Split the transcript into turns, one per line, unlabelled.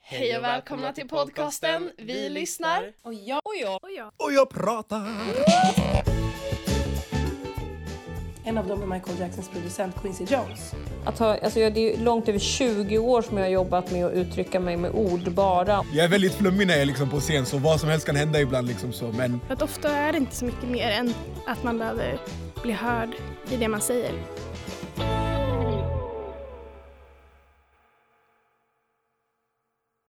Hej och välkomna till podcasten Vi lyssnar.
Och jag. Och jag.
Och jag pratar!
En av dem är Michael Jacksons producent Quincy Jones.
Att ha, alltså jag, det är ju långt över 20 år som jag har jobbat med att uttrycka mig med ord bara.
Jag är väldigt flummig när jag är liksom på scen så vad som helst kan hända ibland liksom så men
För att ofta är det inte så mycket mer än att man behöver bli hörd i det man säger.